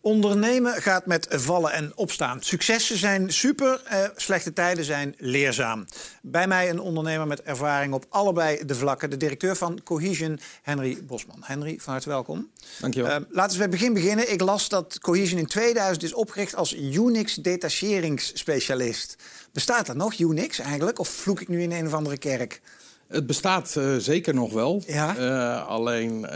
Ondernemen gaat met vallen en opstaan. Successen zijn super, eh, slechte tijden zijn leerzaam. Bij mij een ondernemer met ervaring op allebei de vlakken. De directeur van Cohesion, Henry Bosman. Henry, van harte welkom. Dankjewel. Eh, laten we bij het begin beginnen. Ik las dat Cohesion in 2000 is opgericht als Unix-detacheringsspecialist. Bestaat dat nog, Unix eigenlijk? Of vloek ik nu in een of andere kerk? Het bestaat eh, zeker nog wel. Ja. Eh, alleen eh,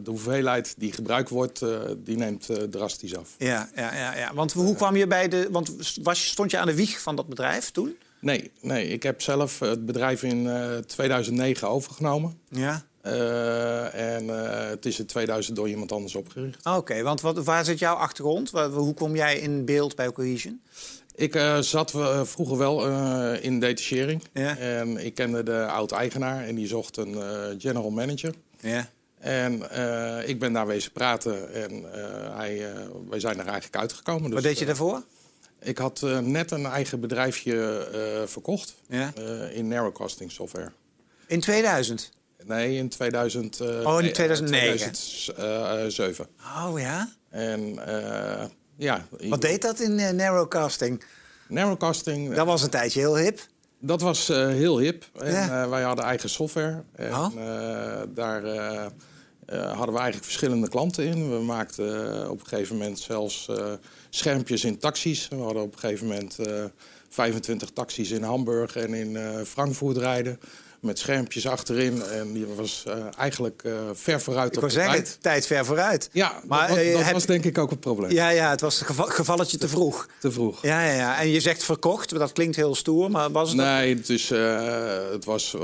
de hoeveelheid die gebruikt wordt, eh, die neemt eh, drastisch af. Ja, ja, ja, ja. Want hoe kwam je bij de... Want was, stond je aan de wieg van dat bedrijf toen? Nee, nee, ik heb zelf het bedrijf in eh, 2009 overgenomen. Ja. Eh, en eh, het is in 2000 door iemand anders opgericht. Ah, Oké, want wat, waar zit jouw achtergrond? Waar- hoe kom jij in beeld bij Cohesion? Ik eh, zat eh, vroeger wel eh, in detachering. Ja. En ik kende de oud-eigenaar en die zocht een eh, general manager. Ja. En eh, ik ben daar wezen praten en eh, hij, eh, wij zijn er eigenlijk uitgekomen. Wat Dus, deed je eh, daarvoor? Ik had eh, net een eigen bedrijfje eh, verkocht Ja. eh, in narrowcasting software. In 2000? Nee, in 2000, eh, Oh, in nee, 2009. 2007. Oh ja? En eh, ja. Wat deed dat in eh, narrowcasting? Narrowcasting, eh, Dat was een tijdje heel hip. dat was eh, heel hip. En, Ja. eh, wij hadden eigen software. En Oh. eh, daar eh, eh, hadden we eigenlijk verschillende klanten in. We maakten eh, op een gegeven moment zelfs eh, schermpjes in taxis. We hadden op een gegeven moment eh, 25 taxis in Hamburg en in eh, Frankfurt rijden. Met schermpjes achterin. En die was eh, eigenlijk eh, ver vooruit Ik op wou de zeggen, tijd. tijd ver vooruit. Ja, Maar, maar, dat, was, eh, dat heb- was denk ik ook het probleem. Ja, ja, het was een geva- gevalletje te vroeg. Te vroeg. Ja, ja, ja. En je zegt verkocht, maar dat klinkt heel stoer, maar was het dat? Nee, dus, eh, het was, eh,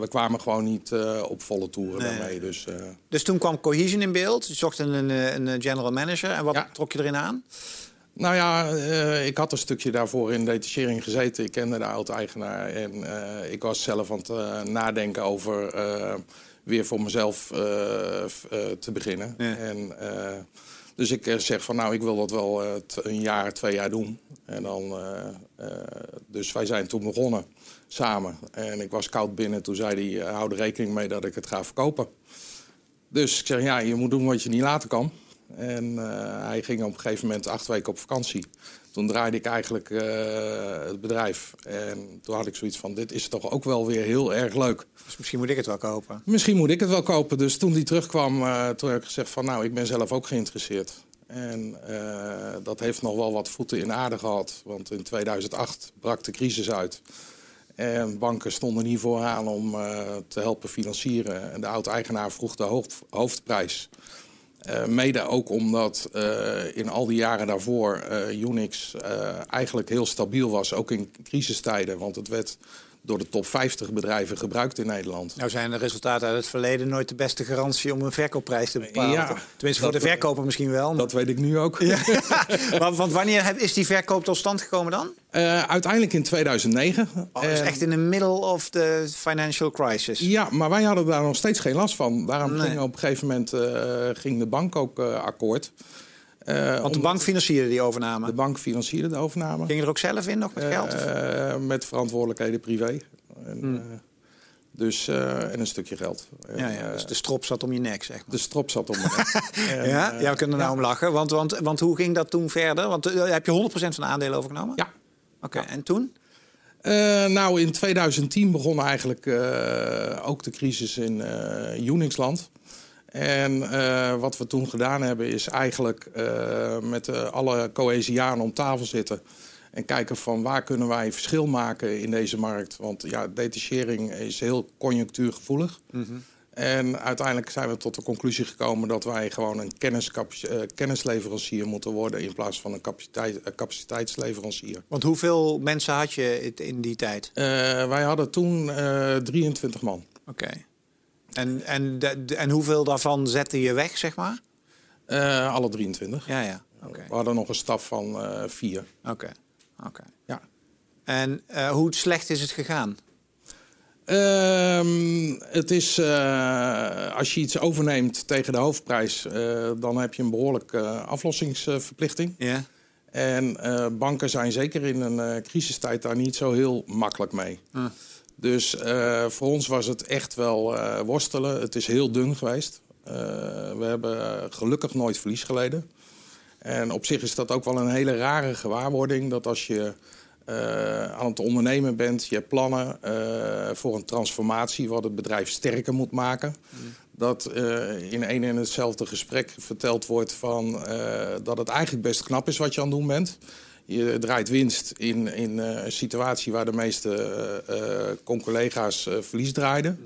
we kwamen gewoon niet eh, op volle toeren Nee. daarmee. Dus, eh, Dus toen kwam Cohesion in beeld. Je zocht een, eh, een, eh, general manager. En wat Ja. trok je erin aan? nou ja, eh, ik had een stukje daarvoor in detachering gezeten. Ik kende de oud-eigenaar en eh, ik was zelf aan het eh, nadenken over eh, weer voor mezelf eh, f- eh, te beginnen. Ja. En, eh, dus ik eh, zeg van nou, ik wil dat wel eh, t- een jaar, twee jaar doen. En dan, eh, eh, dus wij zijn toen begonnen samen. En ik was koud binnen. Toen zei hij, hou er rekening mee dat ik het ga verkopen. Dus ik zeg, ja, je moet doen wat je niet laten kan. En eh, hij ging op een gegeven moment acht weken op vakantie. Toen draaide ik eigenlijk eh, het bedrijf. En toen had ik zoiets van, dit is toch ook wel weer heel erg leuk. Dus misschien moet ik het wel kopen. Misschien moet ik het wel kopen. Dus toen die terugkwam, eh, toen heb ik gezegd van, nou, ik ben zelf ook geïnteresseerd. En eh, dat heeft nog wel wat voeten in aarde gehad. Want in 2008 brak de crisis uit. En banken stonden niet vooraan om eh, te helpen financieren. En de oud-eigenaar vroeg de hoofd- hoofdprijs. Eh, mede ook omdat eh, in al die jaren daarvoor eh, Unix eh, eigenlijk heel stabiel was, ook in crisistijden. Want het werd door de top 50 bedrijven gebruikt in Nederland. Nou zijn de resultaten uit het verleden nooit de beste garantie om een verkoopprijs te bepalen. Ja, Tenminste, voor dat- de verkoper misschien wel. Dat weet ik nu ook. Want, want wanneer heb- is die verkoop tot stand gekomen dan? Eh, uiteindelijk in 2009. Oh, dat is En- echt in de middle of the financial crisis. Ja, maar wij hadden daar nog steeds geen last van. Daarom Nee. ging op een gegeven moment eh, ging de bank ook eh, akkoord. Eh, Want omdat de bank financierde die overname. de bank financierde de overname. Ging je er ook zelf in nog met geld? of- Eh, met verantwoordelijkheden privé. En, eh, dus, eh, en een stukje geld. En, ja, ja, eh, dus de strop zat om je nek, zeg maar. de strop zat om. me. En, ja, eh, ja, we kunnen er nou om lachen. Want, want, want hoe ging dat toen verder? Want eh, heb je 100% van de aandelen overgenomen? ja. Oké, en toen? Eh, nou, in 2010 begon eigenlijk eh, ook de crisis in eh Unixland. En eh, wat we toen gedaan hebben is eigenlijk eh, met eh, alle cohesianen om tafel zitten... en kijken van waar kunnen wij verschil maken in deze markt. Want ja, detachering is heel conjunctuurgevoelig. En uiteindelijk zijn we tot de conclusie gekomen dat wij gewoon een kenniscapaci- eh, kennisleverancier moeten worden... in plaats van een capaciteit- eh, capaciteitsleverancier. Want hoeveel mensen had je het in die tijd? Eh, wij hadden toen eh, 23 man. Oké. En, en, de- de- en hoeveel daarvan zette je weg, zeg maar? Eh, alle 23. Ja, ja. Oké. We hadden nog een staf van eh vier. Oké. Oké. Ja. En eh, hoe slecht is het gegaan? Ehm, het is, eh, als je iets overneemt tegen de hoofdprijs, eh, dan heb je een behoorlijk eh, aflossingsverplichting. Ja. En eh, banken zijn zeker in een eh, crisistijd daar niet zo heel makkelijk mee. Ah. Dus eh, voor ons was het echt wel eh, worstelen. Het is heel dun geweest. Eh, we hebben eh, gelukkig nooit verlies geleden. En op zich is dat ook wel een hele rare gewaarwording. Dat als je eh, aan het ondernemen bent, je hebt plannen eh, voor een transformatie, wat het bedrijf sterker moet maken. Dat eh, in één en hetzelfde gesprek verteld wordt van, eh, dat het eigenlijk best knap is wat je aan het doen bent. Je draait winst in, in eh, een situatie waar de meeste eh, eh, con-collega's eh, verlies draaiden.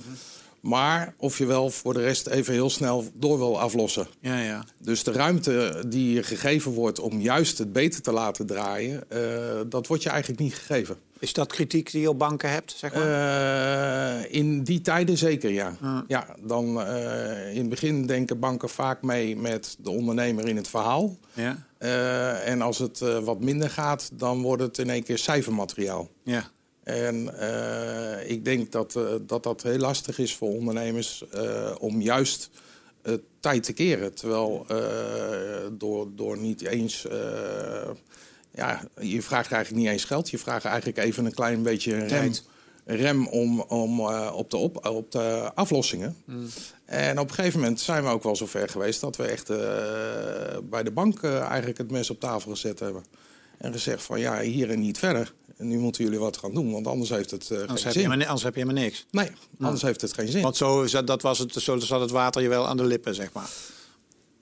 Maar of je wel voor de rest even heel snel door wil aflossen. Ja, ja. Dus de ruimte die je gegeven wordt om juist het beter te laten draaien, eh, dat wordt je eigenlijk niet gegeven. Is dat kritiek die je op banken hebt, zeg maar? Eh, in die tijden zeker, ja. ja dan, eh, in het begin denken banken vaak mee met de ondernemer in het verhaal. ja. Eh, en als het eh, wat minder gaat, dan wordt het in één keer cijfermateriaal. ja. En eh, ik denk dat, eh, dat dat heel lastig is voor ondernemers eh, om juist eh, tijd te keren. Terwijl eh, door, door niet eens. eh, ja, je vraagt eigenlijk niet eens geld. Je vraagt eigenlijk even een klein beetje een rem, Tijd. een rem om, om, eh, op, de op, op de aflossingen. Hmm. En op een gegeven moment zijn we ook wel zover geweest dat we echt eh, bij de bank eh, eigenlijk het mes op tafel gezet hebben. En gezegd van ja, hier en niet verder. En nu moeten jullie wat gaan doen, want anders heeft het eh, Anders, geen heb je zin. maar, ni- anders heb je maar niks. Nee, anders heeft het geen zin. Want zo, is dat- dat was het, zo zat het water je wel aan de lippen, zeg maar.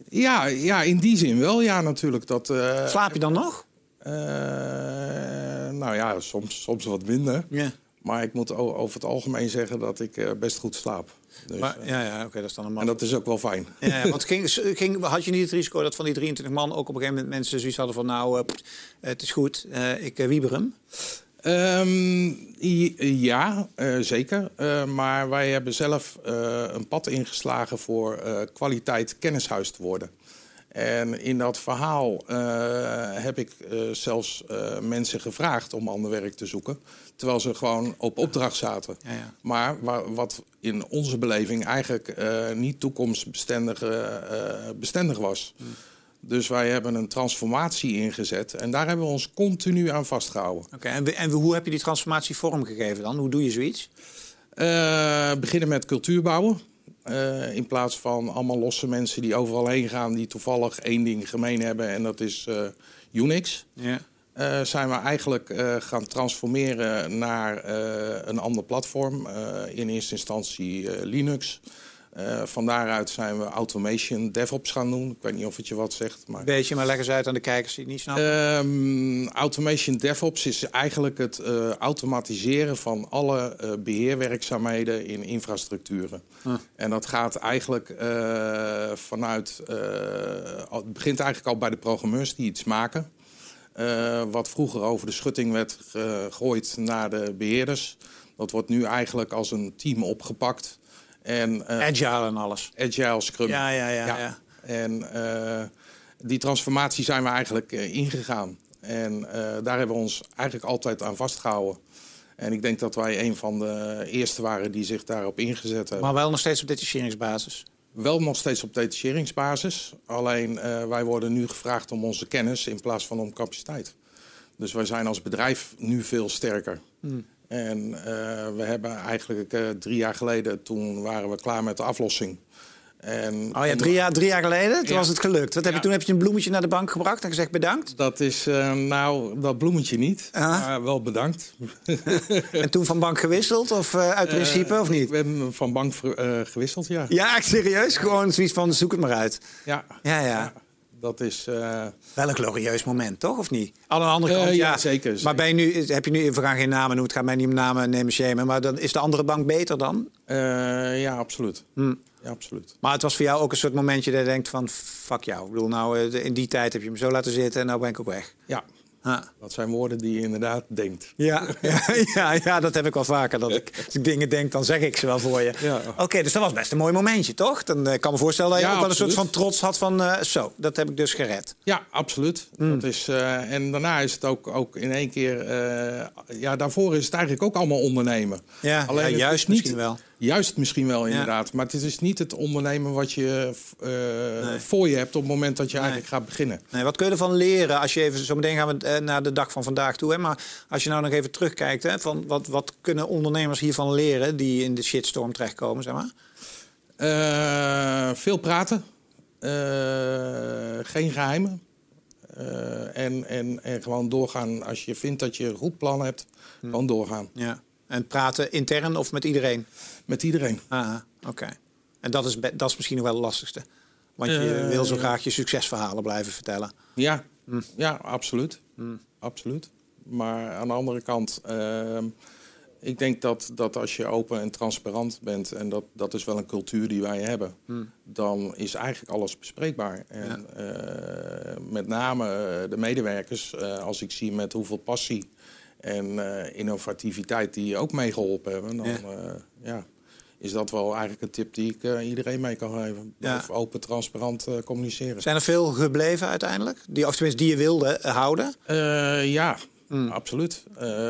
Ja, ja, in die zin wel. Ja, natuurlijk. Dat, eh, Slaap je dan nog? eh, nou ja, soms, soms wat minder. Ja. Maar ik moet o- over het algemeen zeggen dat ik eh, best goed slaap. Dus, eh, Maar, ja, ja oké, dat is dan een en man. dat is ook wel fijn. Ja, ja, want ging, ging, had je niet het risico dat van die 23 man ook op een gegeven moment mensen zoiets hadden van... nou, eh, pff, het is goed, eh, ik eh, wieber hem. Ehm, i- ja, eh, zeker. Eh, maar wij hebben zelf eh, een pad ingeslagen voor eh, kwaliteit kennishuis te worden. En in dat verhaal eh, heb ik eh, zelfs eh, mensen gevraagd om ander werk te zoeken. Terwijl ze gewoon op opdracht zaten. Ja, ja. Maar wa- wat in onze beleving eigenlijk eh, niet toekomstbestendig eh, bestendig was. Dus wij hebben een transformatie ingezet. En daar hebben we ons continu aan vastgehouden. Oké, en, we- en hoe heb je die transformatie vormgegeven dan? Hoe doe je zoiets? Eh, beginnen met cultuur bouwen. Eh, in plaats van allemaal losse mensen die overal heen gaan, die toevallig één ding gemeen hebben en dat is eh, Unix. Ja. Eh, zijn we eigenlijk eh, gaan transformeren naar eh, een ander platform. Eh, in eerste instantie eh, Linux. Eh, van daaruit zijn we automation DevOps gaan doen. Ik weet niet of het je wat zegt, maar. Beetje, maar leg eens uit aan de kijkers die het niet snappen. Ehm, automation DevOps is eigenlijk het eh, automatiseren van alle eh, beheerwerkzaamheden in infrastructuren. En dat gaat eigenlijk eh, vanuit. eh, al- het begint eigenlijk al bij de programmeurs die iets maken. Eh, wat vroeger over de schutting werd gegooid naar de beheerders. Dat wordt nu eigenlijk als een team opgepakt. En eh, Agile en alles. Agile Scrum. Ja, ja, ja, ja. En eh, die transformatie zijn we eigenlijk eh, ingegaan. En eh, daar hebben we ons eigenlijk altijd aan vastgehouden. En ik denk dat wij een van de eerste waren die zich daarop ingezet hebben. Maar wel nog steeds op detacheringsbasis. Wel nog steeds op detacheringsbasis. Alleen eh, wij worden nu gevraagd om onze kennis in plaats van om capaciteit. Dus wij zijn als bedrijf nu veel sterker. Hmm. En eh, we hebben eigenlijk eh, drie jaar geleden, toen waren we klaar met de aflossing. En Oh ja, drie jaar, drie jaar geleden, toen Ja. was het gelukt. Wat heb je, Ja. toen heb je een bloemetje naar de bank gebracht en gezegd bedankt. Dat is, eh, nou, dat bloemetje niet. Ah. Maar wel bedankt. En toen van bank gewisseld, of eh, uit principe, of niet? We hebben hem van bank ver- eh, gewisseld, ja. Ja, echt serieus. Gewoon zoiets van, zoek het maar uit. Ja, Ja, ja. dat is... eh, Wel een glorieus moment, toch? Of niet? Aan de andere Eh, kant, ja. ja, zeker, zeker. Maar ben je nu, heb je nu, we gaan geen namen noemen, het gaat mij niet om namen nemen, shamen. Maar dan is de andere bank beter dan? eh, ja, absoluut. Hmm. Ja, absoluut. Maar het was voor jou ook een soort momentje dat je denkt van, fuck jou. Ik bedoel, nou, eh, de- in die tijd heb je me zo laten zitten en nou ben ik ook weg. Ja, Ha. dat zijn woorden die je inderdaad denkt. Ja, ja, ja, ja, dat heb ik wel vaker. Dat ik, als ik dingen denk, dan zeg ik ze wel voor je. Ja. Oké, dus dat was best een mooi momentje, toch? Dan eh, ik kan me voorstellen dat je Ja, ook wel een soort van absoluut. trots had van... eh, zo, dat heb ik dus gered. Ja, absoluut. Hmm. Dat is, eh, en daarna is het ook, ook in één keer... eh, ja, daarvoor is het eigenlijk ook allemaal ondernemen. Ja, ja, het is juist niet, misschien wel. Juist misschien wel, inderdaad. Maar het is niet het ondernemen wat je eh, Nee. voor je hebt op het moment dat je Nee. eigenlijk gaat beginnen. Nee, wat kun je ervan leren als je even, zo meteen gaan we eh, naar de dag van vandaag toe. Hè? Maar als je nou nog even terugkijkt, hè, van wat, wat kunnen ondernemers hiervan leren die in de shitstorm terechtkomen, zeg maar? Eh, veel praten. Eh, geen geheimen. Eh, en, en, en gewoon doorgaan. Als je vindt dat je een goed plan hebt, gewoon doorgaan. Ja. En praten intern of met iedereen? Met iedereen. Aha, Ah, oké. En dat is, be- dat is misschien nog wel het lastigste. Want je Eh, wil zo ja. graag je succesverhalen blijven vertellen. Ja, Hm. ja absoluut. absoluut. Maar aan de andere kant, ehm, ik denk dat, dat als je open en transparant bent, en dat, dat is wel een cultuur die wij hebben, Hm. dan is eigenlijk alles bespreekbaar. En eh, met name eh, de medewerkers, eh, als ik zie met hoeveel passie en eh, innovativiteit die ook meegeholpen hebben, dan Ja. eh, ja, is dat wel eigenlijk een tip die ik eh, iedereen mee kan geven. Ja. Of open, transparant eh, communiceren. Zijn er veel gebleven uiteindelijk? Die, of tenminste, die je wilde eh, houden? Eh, ja, Hmm. absoluut.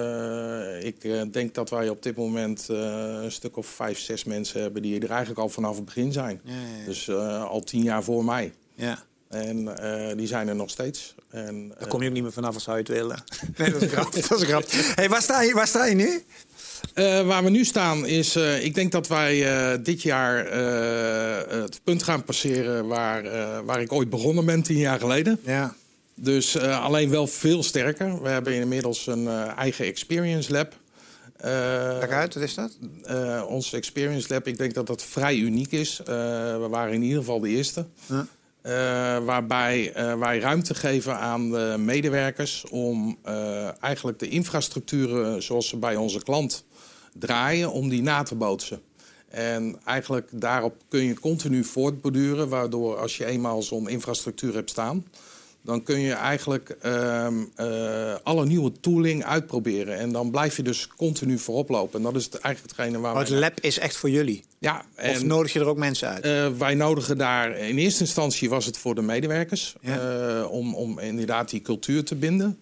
Eh, ik eh, denk dat wij op dit moment eh, een stuk of vijf, zes mensen hebben die er eigenlijk al vanaf het begin zijn. Ja, ja, ja. Dus eh, al tien jaar voor mij. Ja. En eh, die zijn er nog steeds. En, Daar kom je ook niet meer vanaf als zou je het willen. Nee, dat is een grap. Dat is een grap. Hey, waar, sta je, waar sta je nu? Eh, waar we nu staan is, eh, ik denk dat wij eh, dit jaar eh, het punt gaan passeren waar, eh, waar ik ooit begonnen ben, tien jaar geleden. Ja. Dus eh, alleen wel veel sterker. We hebben inmiddels een eh, eigen experience lab. Eh, Kijk uit, wat is dat? eh ons Experience Lab, ik denk dat dat vrij uniek is. Eh, we waren in ieder geval de eerste. Ja. Eh, waarbij eh, wij ruimte geven aan de medewerkers om eh, eigenlijk de infrastructuren eh, zoals ze bij onze klant draaien, om die na te bootsen. En eigenlijk daarop kun je continu voortborduren, waardoor als je eenmaal zo'n infrastructuur hebt staan, dan kun je eigenlijk ehm, eh, alle nieuwe tooling uitproberen. En dan blijf je dus continu voorop lopen. En dat is het- eigenlijk hetgene waar Oh, het wij- lab is echt voor jullie. Ja, Of en- nodig je er ook mensen uit? eh, wij nodigen daar, in eerste instantie was het voor de medewerkers, Ja. eh, om, om inderdaad die cultuur te binden.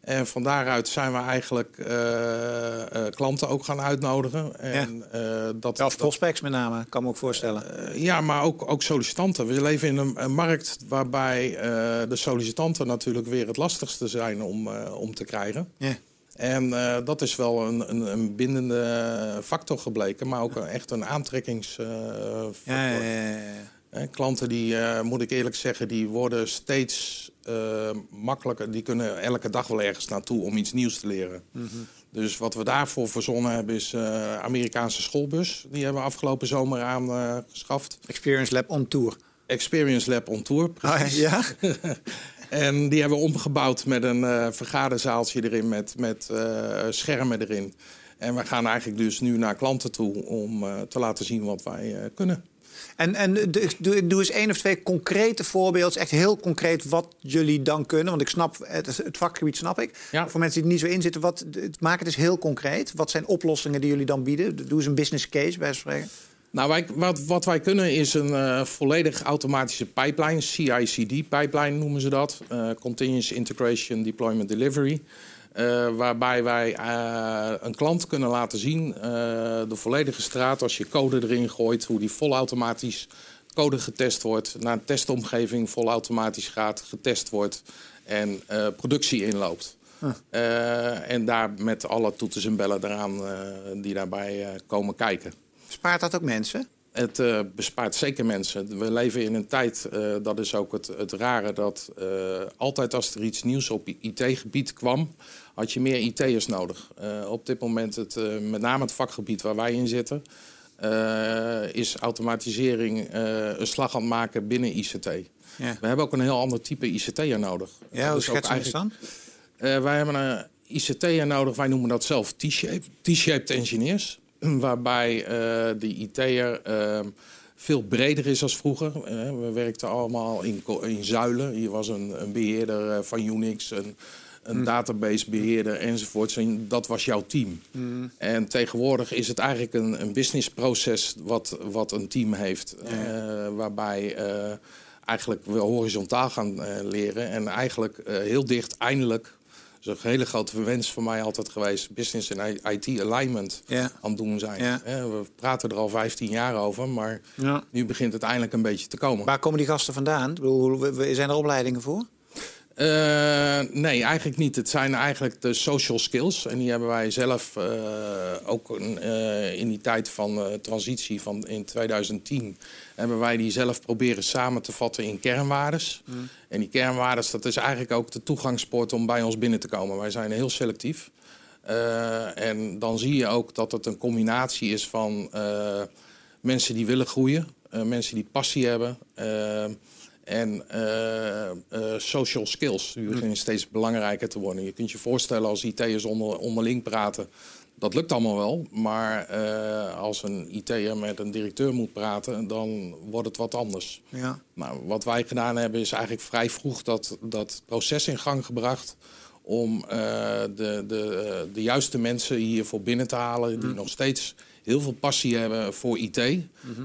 En van daaruit zijn we eigenlijk eh, eh, klanten ook gaan uitnodigen. En, eh, dat, Ja, of prospects met name, kan me ook voorstellen. eh, ja, maar ook, ook sollicitanten. We leven in een, een markt waarbij eh, de sollicitanten natuurlijk weer het lastigste zijn om, eh, om te krijgen. Ja. En eh, dat is wel een, een, een bindende eh, factor gebleken, maar ook een- echt een aantrekkingsfactor. Ja, ja, ja, ja, ja. Hè, klanten die, eh, moet ik eerlijk zeggen, die worden steeds eh, makkelijker. Die kunnen elke dag wel ergens naartoe om iets nieuws te leren. Dus wat we daarvoor verzonnen hebben is eh Amerikaanse schoolbus. Die hebben we afgelopen zomer aangeschaft. Experience Lab on tour. Experience Lab on Tour. Ah, ja? En die hebben we omgebouwd met een eh, vergaderzaaltje erin, met, met eh, schermen erin. En we gaan eigenlijk dus nu naar klanten toe om eh, te laten zien wat wij eh, kunnen. En, en de- doe, doe eens één of twee concrete voorbeelden. Echt heel concreet wat jullie dan kunnen. Want ik snap, het, het vakgebied snap ik. Ja. Voor mensen die er niet zo in zitten, wat, het- maak het eens heel concreet. Wat zijn oplossingen die jullie dan bieden? Doe eens een business case, bij wijze van spreken. Nou, wij, wat, wat wij kunnen is een eh, volledig automatische pipeline, CICD-pipeline noemen ze dat. eh, Continuous Integration Deployment Delivery. eh, waarbij wij eh, een klant kunnen laten zien eh, de volledige straat als je code erin gooit, hoe die volautomatisch code getest wordt, naar een testomgeving volautomatisch gaat, getest wordt en eh, productie inloopt. Eh, en daar met alle toeters en bellen eraan eh, die daarbij eh, komen kijken. Spaart dat ook mensen? Het eh, bespaart zeker mensen. We leven in een tijd, eh, dat is ook het, het rare, dat eh, altijd als er iets nieuws op IT-gebied kwam, had je meer IT'ers nodig. Eh, op dit moment, het, eh, met name het vakgebied waar wij in zitten, eh, is automatisering eh, een slag aan het maken binnen ICT. Ja. We hebben ook een heel ander type ICT'er nodig. Ja, Dat hoe is ook schetsen we het eigenlijk- dan? eh, wij hebben een ICT'er nodig, wij noemen dat zelf T-shape- T-shaped engineers. Waarbij eh de IT'er eh, veel breder is als vroeger. Eh, we werkten allemaal in, ko- in zuilen. Hier was een, een beheerder eh, van Unix, een, een databasebeheerder enzovoorts. En dat was jouw team. En tegenwoordig is het eigenlijk een, een businessproces wat, wat een team heeft. eh, waarbij... eh, eigenlijk we horizontaal gaan eh, leren. En eigenlijk eh, heel dicht eindelijk is een hele grote wens voor mij altijd geweest. Business en IT alignment Ja. aan het doen zijn. Ja. Hè, we praten er al 15 jaar over, maar Ja. nu begint het eindelijk een beetje te komen. Waar komen die gasten vandaan? Ik bedoel, we- we- zijn er opleidingen voor? Eh, nee, eigenlijk niet. Het zijn eigenlijk de social skills. En die hebben wij zelf eh, ook een, eh, in die tijd van eh, transitie van in 2010... hebben wij die zelf proberen samen te vatten in kernwaardes. En die kernwaardes, dat is eigenlijk ook de toegangspoort om bij ons binnen te komen. Wij zijn heel selectief. Eh, en dan zie je ook dat het een combinatie is van eh, mensen die willen groeien, eh, mensen die passie hebben eh, en eh, eh, social skills. Die beginnen steeds belangrijker te worden. Je kunt je voorstellen als IT'ers onder, onderling praten. Dat lukt allemaal wel, maar eh, als een IT'er met een directeur moet praten, dan wordt het wat anders. Ja. Nou, wat wij gedaan hebben is eigenlijk vrij vroeg dat, dat proces in gang gebracht... om eh, de, de, eh, de juiste mensen hiervoor binnen te halen... die nog steeds heel veel passie hebben voor IT...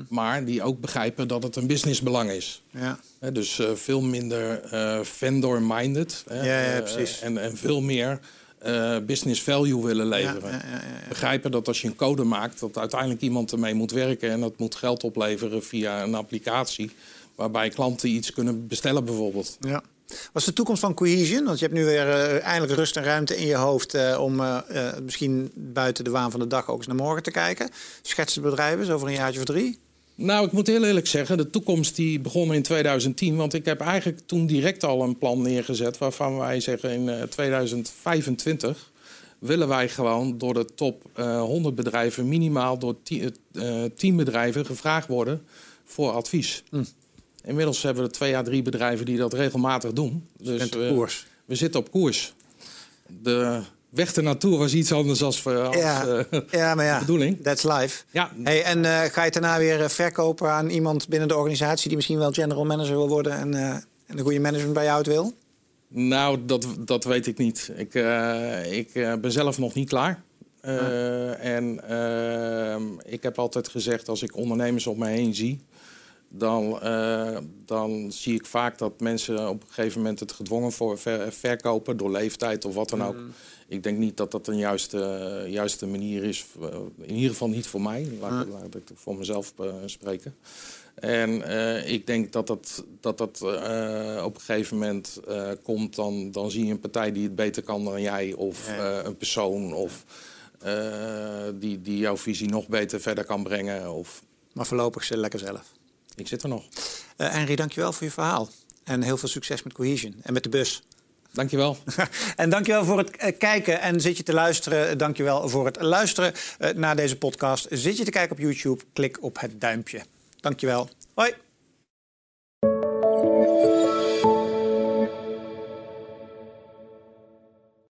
maar die ook begrijpen dat het een businessbelang is. Ja. Hè, dus eh, veel minder eh, vendor-minded. hè, Ja, ja, eh, precies. en, en veel meer eh, business value willen leveren. Ja, ja, ja, ja, ja. Begrijpen dat als je een code maakt, dat uiteindelijk iemand ermee moet werken. En dat moet geld opleveren via een applicatie. Waarbij klanten iets kunnen bestellen, bijvoorbeeld. Ja. Wat is de toekomst van cohesion? Want je hebt nu weer eh, eindelijk rust en ruimte in je hoofd eh, om eh, eh, misschien buiten de waan van de dag ook eens naar morgen te kijken. Schetsen het bedrijf eens over een jaartje of drie. Nou, ik moet heel eerlijk zeggen, de toekomst die begon in 2010. Want ik heb eigenlijk toen direct al een plan neergezet waarvan wij zeggen in eh, 2025 willen wij gewoon door de top eh, 100 bedrijven minimaal door 10, eh, 10 bedrijven gevraagd worden voor advies. Hm. Inmiddels hebben we er twee à drie bedrijven die dat regelmatig doen. Dus bent op we- koers. We zitten op koers. De weg ernaartoe was iets anders als, we- als Ja. eh, ja, maar ja. bedoeling. That's life. Ja. Hey, en eh, ga je het daarna weer eh, verkopen aan iemand binnen de organisatie die misschien wel general manager wil worden en, eh, en een goede management bij jou uit wil? Nou, dat, dat weet ik niet. Ik, eh, ik eh, ben zelf nog niet klaar. Eh, En ehm, ik heb altijd gezegd, als ik ondernemers om me heen zie... Dan, eh, dan zie ik vaak dat mensen op een gegeven moment het gedwongen voor ver- verkopen... door leeftijd of wat dan ook. Ik denk niet dat dat een juiste, juiste manier is. eh, In ieder geval niet voor mij. Laat, ik- laat ik voor mezelf eh, spreken. En eh, ik denk dat dat, dat, dat eh, op een gegeven moment eh, komt. Dan, dan zie je een partij die het beter kan dan jij. Of Ja. eh, een persoon. Of eh, die, die jouw visie nog beter verder kan brengen. Of Maar voorlopig zit lekker zelf. ik zit er nog. Eh Henry, dankjewel voor je verhaal. En heel veel succes met Cohesion en met de bus. Dankjewel. en dankjewel voor het eh, kijken. En zit je te luisteren, eh, dankjewel voor het luisteren eh, naar deze podcast. Zit je te kijken op YouTube, klik op het duimpje. Dankjewel. Hoi.